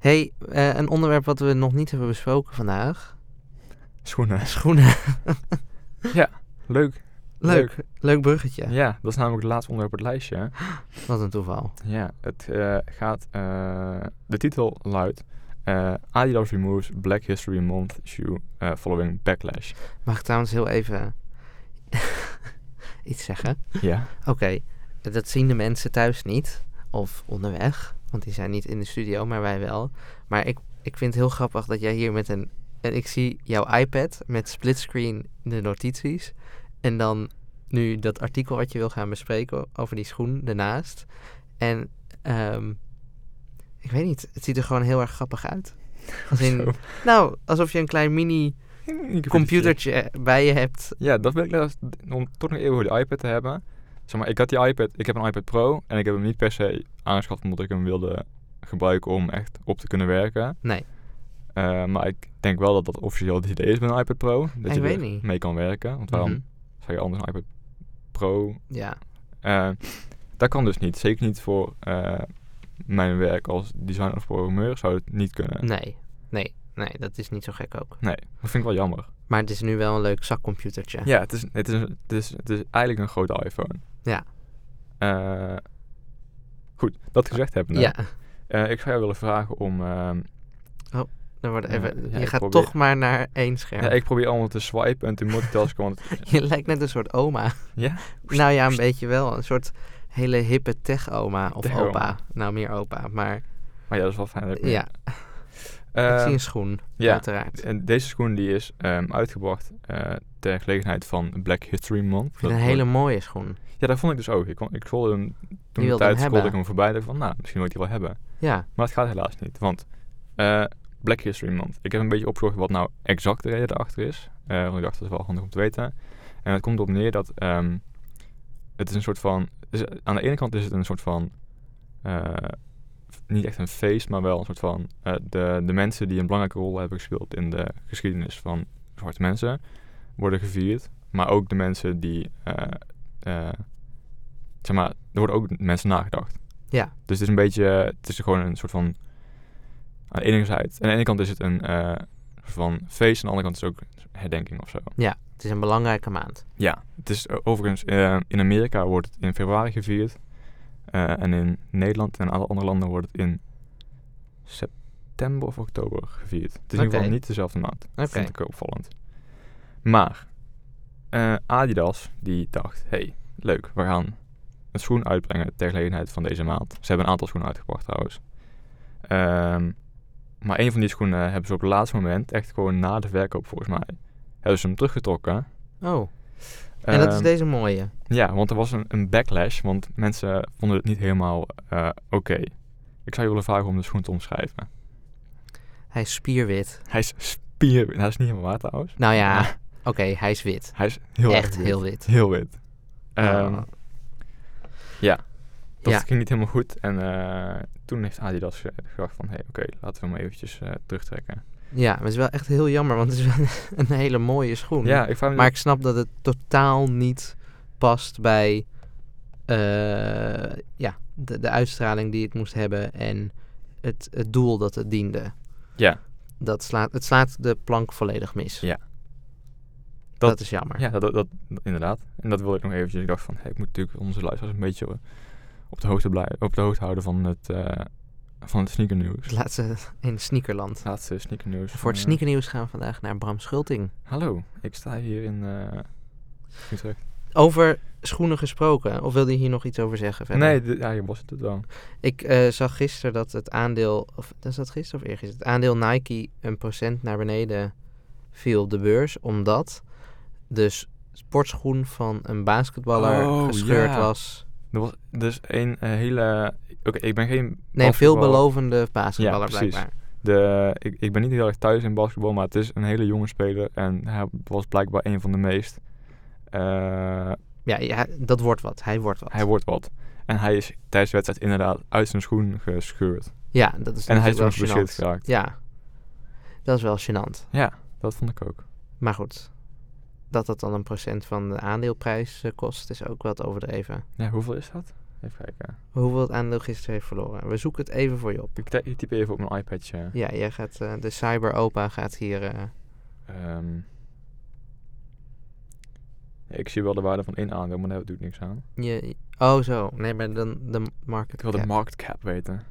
A: Hey, eh, een onderwerp wat we nog niet hebben besproken vandaag:
B: Schoenen.
A: schoenen.
B: Leuk.
A: Leuk, leuk bruggetje.
B: Ja. dat is namelijk het laatste onderwerp op het lijstje. hè.
A: Wat een toeval.
B: Ja, het eh, gaat... eh, de titel luidt... eh, Adidas removes Black History Month shoe eh, following backlash.
A: Mag ik trouwens heel even iets zeggen?
B: Ja.
A: Oké, dat zien de mensen thuis niet. Of onderweg. Want die zijn niet in de studio, maar wij wel. Maar ik, ik vind het heel grappig dat jij hier met een... En ik zie jouw iPad met splitscreen in de notities. En dan nu dat artikel wat je wil gaan bespreken over die schoen daarnaast. En ehm, ik weet niet, het ziet er gewoon heel erg grappig uit. Als in-
B: Zo.
A: nou, alsof je een klein mini computertje eh, bij je hebt.
B: Ja, dat wil ik laatst- om toch nog even over die iPad te hebben. Zeg maar, ik had die iPad, ik heb een iPad Pro en ik heb hem niet per se aangeschaft omdat ik hem wilde gebruiken om echt op te kunnen werken.
A: Nee.
B: Eh, maar ik denk wel dat dat officieel het idee is met een iPad Pro. Dat
A: Ik
B: je
A: weet
B: er
A: niet.
B: mee kan werken. Want waarom
A: Mhm.
B: zou je anders een iPad Pro?
A: Ja,
B: Eh, dat kan dus niet. Zeker niet voor eh, mijn werk als designer of programmeur zou het niet kunnen.
A: nee. Nee, nee, dat is niet zo gek ook.
B: Nee, dat vind ik wel jammer.
A: Maar het is nu wel een leuk zakcomputertje.
B: Ja, het is, het is, het is, het is eigenlijk een grote iPhone.
A: Ja.
B: Eh, goed, dat gezegd hebben.
A: Ja,
B: ik zou jou willen vragen om... ehm,
A: dan wordt
B: Ja,
A: even,
B: ja,
A: je
B: ik
A: gaat
B: probeer-
A: toch maar naar één scherm.
B: ja, ik probeer allemaal te swipen en te multitasken, want...
A: Je lijkt net een soort oma.
B: Ja?
A: Nou ja, een beetje wel. Een soort hele hippe tech-oma of
B: Tech-oma.
A: opa. Nou, meer opa. Maar
B: Maar ja, dat is wel fijn. dat ik me-
A: ja,
B: Eh,
A: ik zie een schoen,
B: ja.
A: uiteraard.
B: En deze schoen die is ehm, uitgebracht eh, ter gelegenheid van Black History Month.
A: Ik vind het een hele mooie schoen.
B: Ja, dat vond ik dus ook. Ik, kon, ik scrolde hem, toen de
A: wilde hem
B: tijd scrolde
A: hebben.
B: ik hem voorbij en dacht van, nou, misschien wil ik die wel hebben.
A: Ja,
B: Maar het gaat helaas niet, want eh, Black History Month. Ik heb een beetje opgezocht wat nou exact de reden daarachter is. eh, want ik dacht, dat is wel handig om te weten. En het komt erop neer dat ehm, het is een soort van... het is- aan de ene kant is het een soort van... eh, f- niet echt een feest, maar wel een soort van... eh, de, de mensen die een belangrijke rol hebben gespeeld in de geschiedenis van zwarte mensen... worden gevierd. Maar ook de mensen die... eh, eh, zeg maar, er worden ook mensen nagedacht.
A: ja,
B: Dus het is een beetje, het is gewoon een soort van, aan de ene kant, aan de ene kant is het een eh, soort van feest, aan de andere kant is het ook herdenking of zo.
A: ja. Het is een belangrijke maand.
B: Ja, het is eh, overigens, eh, in Amerika wordt het in februari gevierd eh, en in Nederland en alle andere landen wordt het in september of oktober gevierd. Het is in ieder
A: Oké.
B: geval niet dezelfde maand.
A: Oké.
B: Dat vind ik ook opvallend. Maar eh, Adidas die dacht, hey, leuk, we gaan een schoen uitbrengen ter gelegenheid van deze maand. Ze hebben een aantal schoenen uitgebracht trouwens. Ehm, maar een van die schoenen hebben ze op het laatste moment, echt gewoon na de verkoop volgens mij, hebben ze hem teruggetrokken.
A: Oh, en dat is
B: Ehm,
A: deze mooie.
B: Ja, want er was een, een backlash, want mensen vonden het niet helemaal eh, oké. Ik zou je willen vragen om de schoen te omschrijven.
A: Hij is spierwit.
B: Hij is spier... Hij is niet helemaal waar trouwens.
A: Nou ja,
B: Maar
A: oké, hij is wit.
B: Hij is heel erg
A: Echt
B: wit.
A: heel wit.
B: Heel wit. Ehm,
A: Oh.
B: ja. Dat
A: Ja.
B: ging niet helemaal goed. En eh, toen heeft Adidas ge- gedacht van... Hé, oké, laten we hem eventjes eh, terugtrekken.
A: Ja, maar het is wel echt heel jammer, want het is wel een hele mooie schoen.
B: Oh, Ja, ik vraag me...
A: Maar ik snap dat het totaal niet past bij eh, ja, de, de uitstraling die het moest hebben en het, het doel dat het diende.
B: Ja.
A: Dat slaat, het slaat de plank volledig mis.
B: Ja.
A: Dat,
B: Dat-
A: is jammer.
B: Ja, dat, dat, dat- inderdaad. En dat wilde ik nog eventjes. Ik dacht van... hé, ik moet natuurlijk onze luisteraars een beetje op de hoogte, blij, op de hoogte houden van het... eh, van het sneakernieuws.
A: Het laatste in sneakerland.
B: Laatste sneakernieuws.
A: Voor het
B: eh,
A: sneakernieuws gaan we vandaag naar Bram Schulting.
B: Hallo, ik sta hier in eh, Utrecht.
A: Over schoenen gesproken, of wilde je hier nog iets over zeggen? Verder?
B: Nee, dit- ja, hier was het het wel.
A: Ik eh, zag gisteren dat het aandeel, of is dat gisteren of eergisteren, het aandeel Nike een procent naar beneden viel op de beurs, omdat de s- sportschoen van een basketballer
B: Oh,
A: gescheurd
B: ja.
A: was.
B: Er was dus een eh, hele... Oké, ik ben geen...
A: Nee, een
B: basketbal-
A: veelbelovende basketballer
B: Ja, precies.
A: blijkbaar.
B: De, ik, ik ben niet heel erg thuis in basketbal, maar het is een hele jonge speler. En hij was blijkbaar een van de meest. Eh,
A: Ja, ja, dat wordt wat. Hij wordt wat.
B: hij wordt wat. En hij is tijdens de wedstrijd inderdaad uit zijn schoen gescheurd.
A: ja, dat is
B: en hij is toen
A: natuurlijk wel
B: geblesseerd
A: gênant.
B: geraakt.
A: Ja, dat is wel gênant.
B: Ja, dat vond ik ook.
A: Maar goed, dat dat dan een procent van de aandeelprijs eh, kost, is ook wat overdreven.
B: Ja, hoeveel is dat? Even kijken.
A: Hoeveel het aandeel gisteren heeft verloren. We zoeken het even voor je op.
B: Ik, ty- ik typ even op mijn iPadje.
A: Ja, jij gaat, eh, de cyberopa gaat hier... eh,
B: Ehm, ja, ik zie wel de waarde van één aandeel, maar daar doet niks aan.
A: je, oh, zo. Nee, maar dan de market
B: Ik wil Oh, de
A: cap.
B: market cap weten.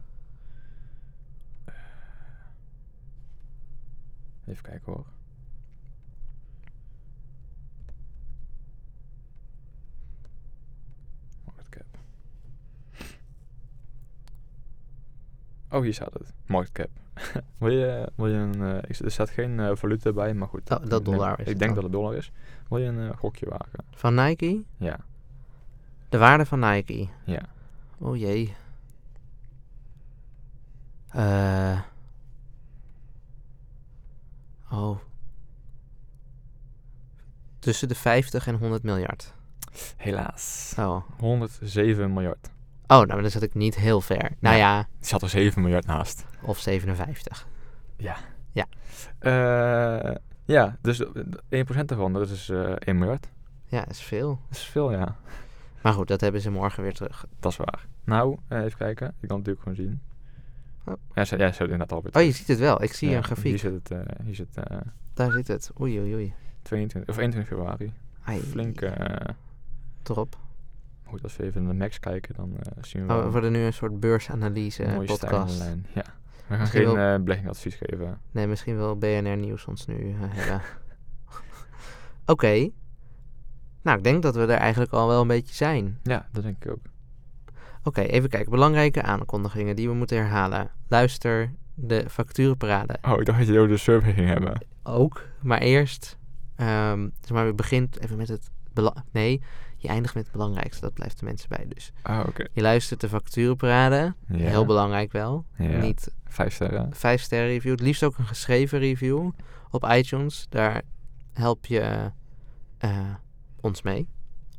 B: Eh, Even kijken hoor. Market cap. Oh, hier staat het. Market cap. wil je, wil je een... eh, ik- er staat geen eh, valuta bij, maar goed.
A: Oh, dat
B: ik neem-
A: dollar is het
B: Ik denk
A: dan.
B: dat het dollar is. Wil je een eh, gokje wagen?
A: Van Nike?
B: Ja.
A: De waarde van Nike.
B: Ja.
A: Oh jee. Eh. oh. Tussen de 50 en 100 miljard.
B: Helaas.
A: Oh.
B: 107 Nou, miljard.
A: Oh, nou, dan zat ik niet heel ver. Nou
B: Nee.
A: ja,
B: Er zat er 7 miljard naast.
A: of 57.
B: Eh, ja, dus eh, 1% daarvan, dat is eh 1 miljard.
A: Ja, dat is veel.
B: Dat is veel, ja.
A: Maar goed, dat hebben ze morgen weer terug.
B: Dat is waar. Nou, eh, even kijken. Ik kan het natuurlijk gewoon zien.
A: Oh.
B: Ja, ze, ja, ze hebben inderdaad al weer
A: Oh,
B: terug.
A: je ziet het wel. Ik zie
B: Ja,
A: een
B: Hier
A: grafiek.
B: zit het, eh, hier zit, eh,
A: Daar zit het. Oei, oei, oei.
B: 22, of 21 februari.
A: Ai,
B: Flink. eh,
A: Top.
B: goed, als we even naar de max kijken, dan eh, zien
A: Oh,
B: we wel
A: we
B: een
A: worden nu een soort beursanalyse eh,
B: mooie stijgende
A: podcast.
B: lijn. Ja. We gaan
A: Misschien
B: geen
A: wel-
B: eh beleggingsadvies geven.
A: Nee, misschien wil BNR Nieuws ons nu eh, hebben. Oké. Nou, ik denk dat we er eigenlijk al wel een beetje zijn.
B: Ja, dat denk ik ook.
A: Oké, even kijken. Belangrijke aankondigingen die we moeten herhalen. Luister de facturenparade
B: Oh, ik dacht dat je ook de survey ging hebben.
A: ook. Maar eerst, ehm zeg maar, we begint even met het... bela- nee, je eindigt met het belangrijkste. Dat blijft de mensen bij. Dus
B: Ah, oké.
A: je luistert de facturenparade.
B: Ja.
A: Heel belangrijk wel.
B: Ja.
A: Niet
B: Vijf sterren.
A: vijf sterren review. Het liefst ook een geschreven review op iTunes. Daar help je eh, ons mee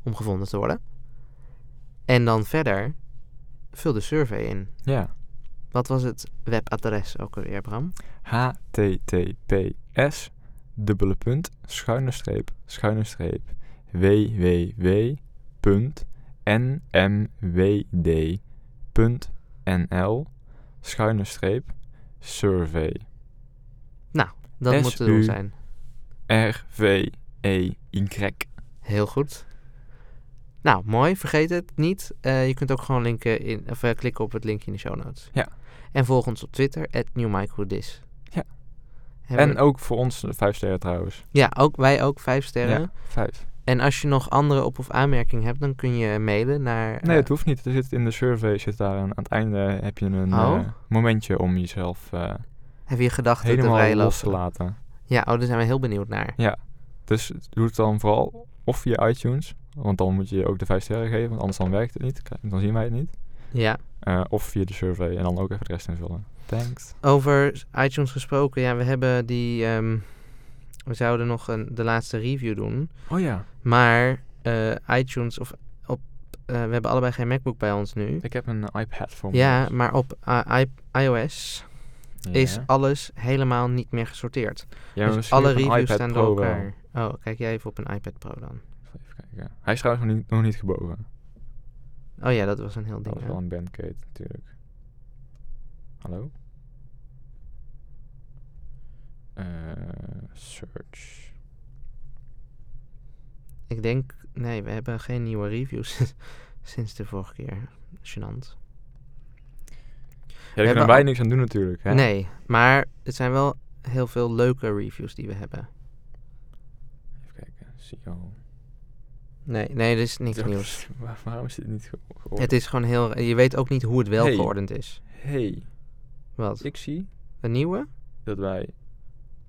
A: om gevonden te worden. En dan verder, vul de survey in.
B: Ja.
A: Wat was het webadres ook alweer, Bram?
B: https dubbele punt schuine streep schuine streep www punt nmwd punt nl schuine streep survey
A: Dat moet de doel
B: SU.
A: zijn.
B: r v e y
A: Heel goed. Nou, mooi. Vergeet het niet. Eh, je kunt ook gewoon linken in, of, eh, klikken op het linkje in de show notes.
B: Ja.
A: En volg ons op Twitter, at
B: Ja. en ook voor ons eh, vijf sterren trouwens
A: Ja, ook, wij ook. Vijf sterren.
B: ja vijf
A: En als je nog andere op- of aanmerkingen hebt, dan kun je mailen naar...
B: nee
A: eh,
B: het hoeft niet er zit in de survey zit daar aan, aan het einde heb je een
A: Oh.
B: eh, momentje om jezelf eh,
A: heb je gedachten te
B: helemaal
A: vrij
B: los te
A: lopen?
B: laten
A: Ja, oh, daar zijn we heel benieuwd naar.
B: Dus doe het dan vooral of via iTunes, want dan moet je ook de 5 sterren geven, want anders dan werkt het niet, krijg- dan zien wij het niet.
A: Ja.
B: Eh, of via de survey en dan ook even de rest invullen. Thanks.
A: Over iTunes gesproken, ja, we hebben die... ehm, we zouden nog een, de laatste review doen.
B: Oh ja.
A: Maar eh, iTunes of... Op, eh, we hebben allebei geen MacBook bij ons nu.
B: Ik heb een eh, iPad voor me.
A: Ja, maar op eh, i- iOS
B: Ja.
A: is alles helemaal niet meer gesorteerd.
B: Ja, maar
A: dus
B: misschien
A: alle
B: op een
A: reviews
B: iPad
A: staan door
B: Pro wel.
A: elkaar. Oh, kijk jij even op een iPad Pro dan.
B: Even kijken. Hij is trouwens nog niet, nog niet gebogen.
A: Oh ja, dat was een heel
B: Dat
A: ding.
B: was
A: hè?
B: wel een bandcade natuurlijk. Hallo? Eh, search.
A: Ik denk, nee, we hebben geen nieuwe reviews sinds de vorige keer. Gênant.
B: Ja,
A: hebben
B: daar kunnen wij
A: al-
B: niks aan doen natuurlijk. Hè?
A: Nee, maar het zijn wel heel veel leuke reviews die we hebben.
B: Even kijken. Zie je al.
A: Nee, nee, er is niks
B: Ja,
A: nieuws.
B: waar- waarom is dit niet ge- gehoord?
A: Het is gewoon heel... Je weet ook niet hoe het wel
B: Hey.
A: geordend is.
B: Hey,
A: Wat?
B: ik zie
A: Een nieuwe?
B: dat wij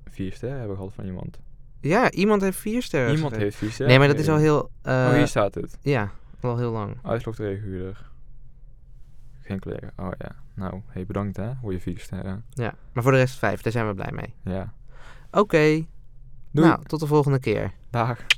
B: vier sterren hebben gehad van iemand.
A: Ja, iemand heeft vier sterren.
B: iemand
A: gegeven.
B: heeft vier sterren.
A: Nee, maar dat is al
B: gegeven.
A: heel... eh,
B: oh, hier staat het.
A: Ja, al heel lang.
B: Uitlokreguleur. Geen collega. Oh ja. Nou, hey, bedankt hè. Voor je vier sterren.
A: Ja, maar voor de rest vijf. Daar zijn we blij mee.
B: Ja.
A: Oké.
B: Doei.
A: Nou, tot de volgende keer.
B: Dag.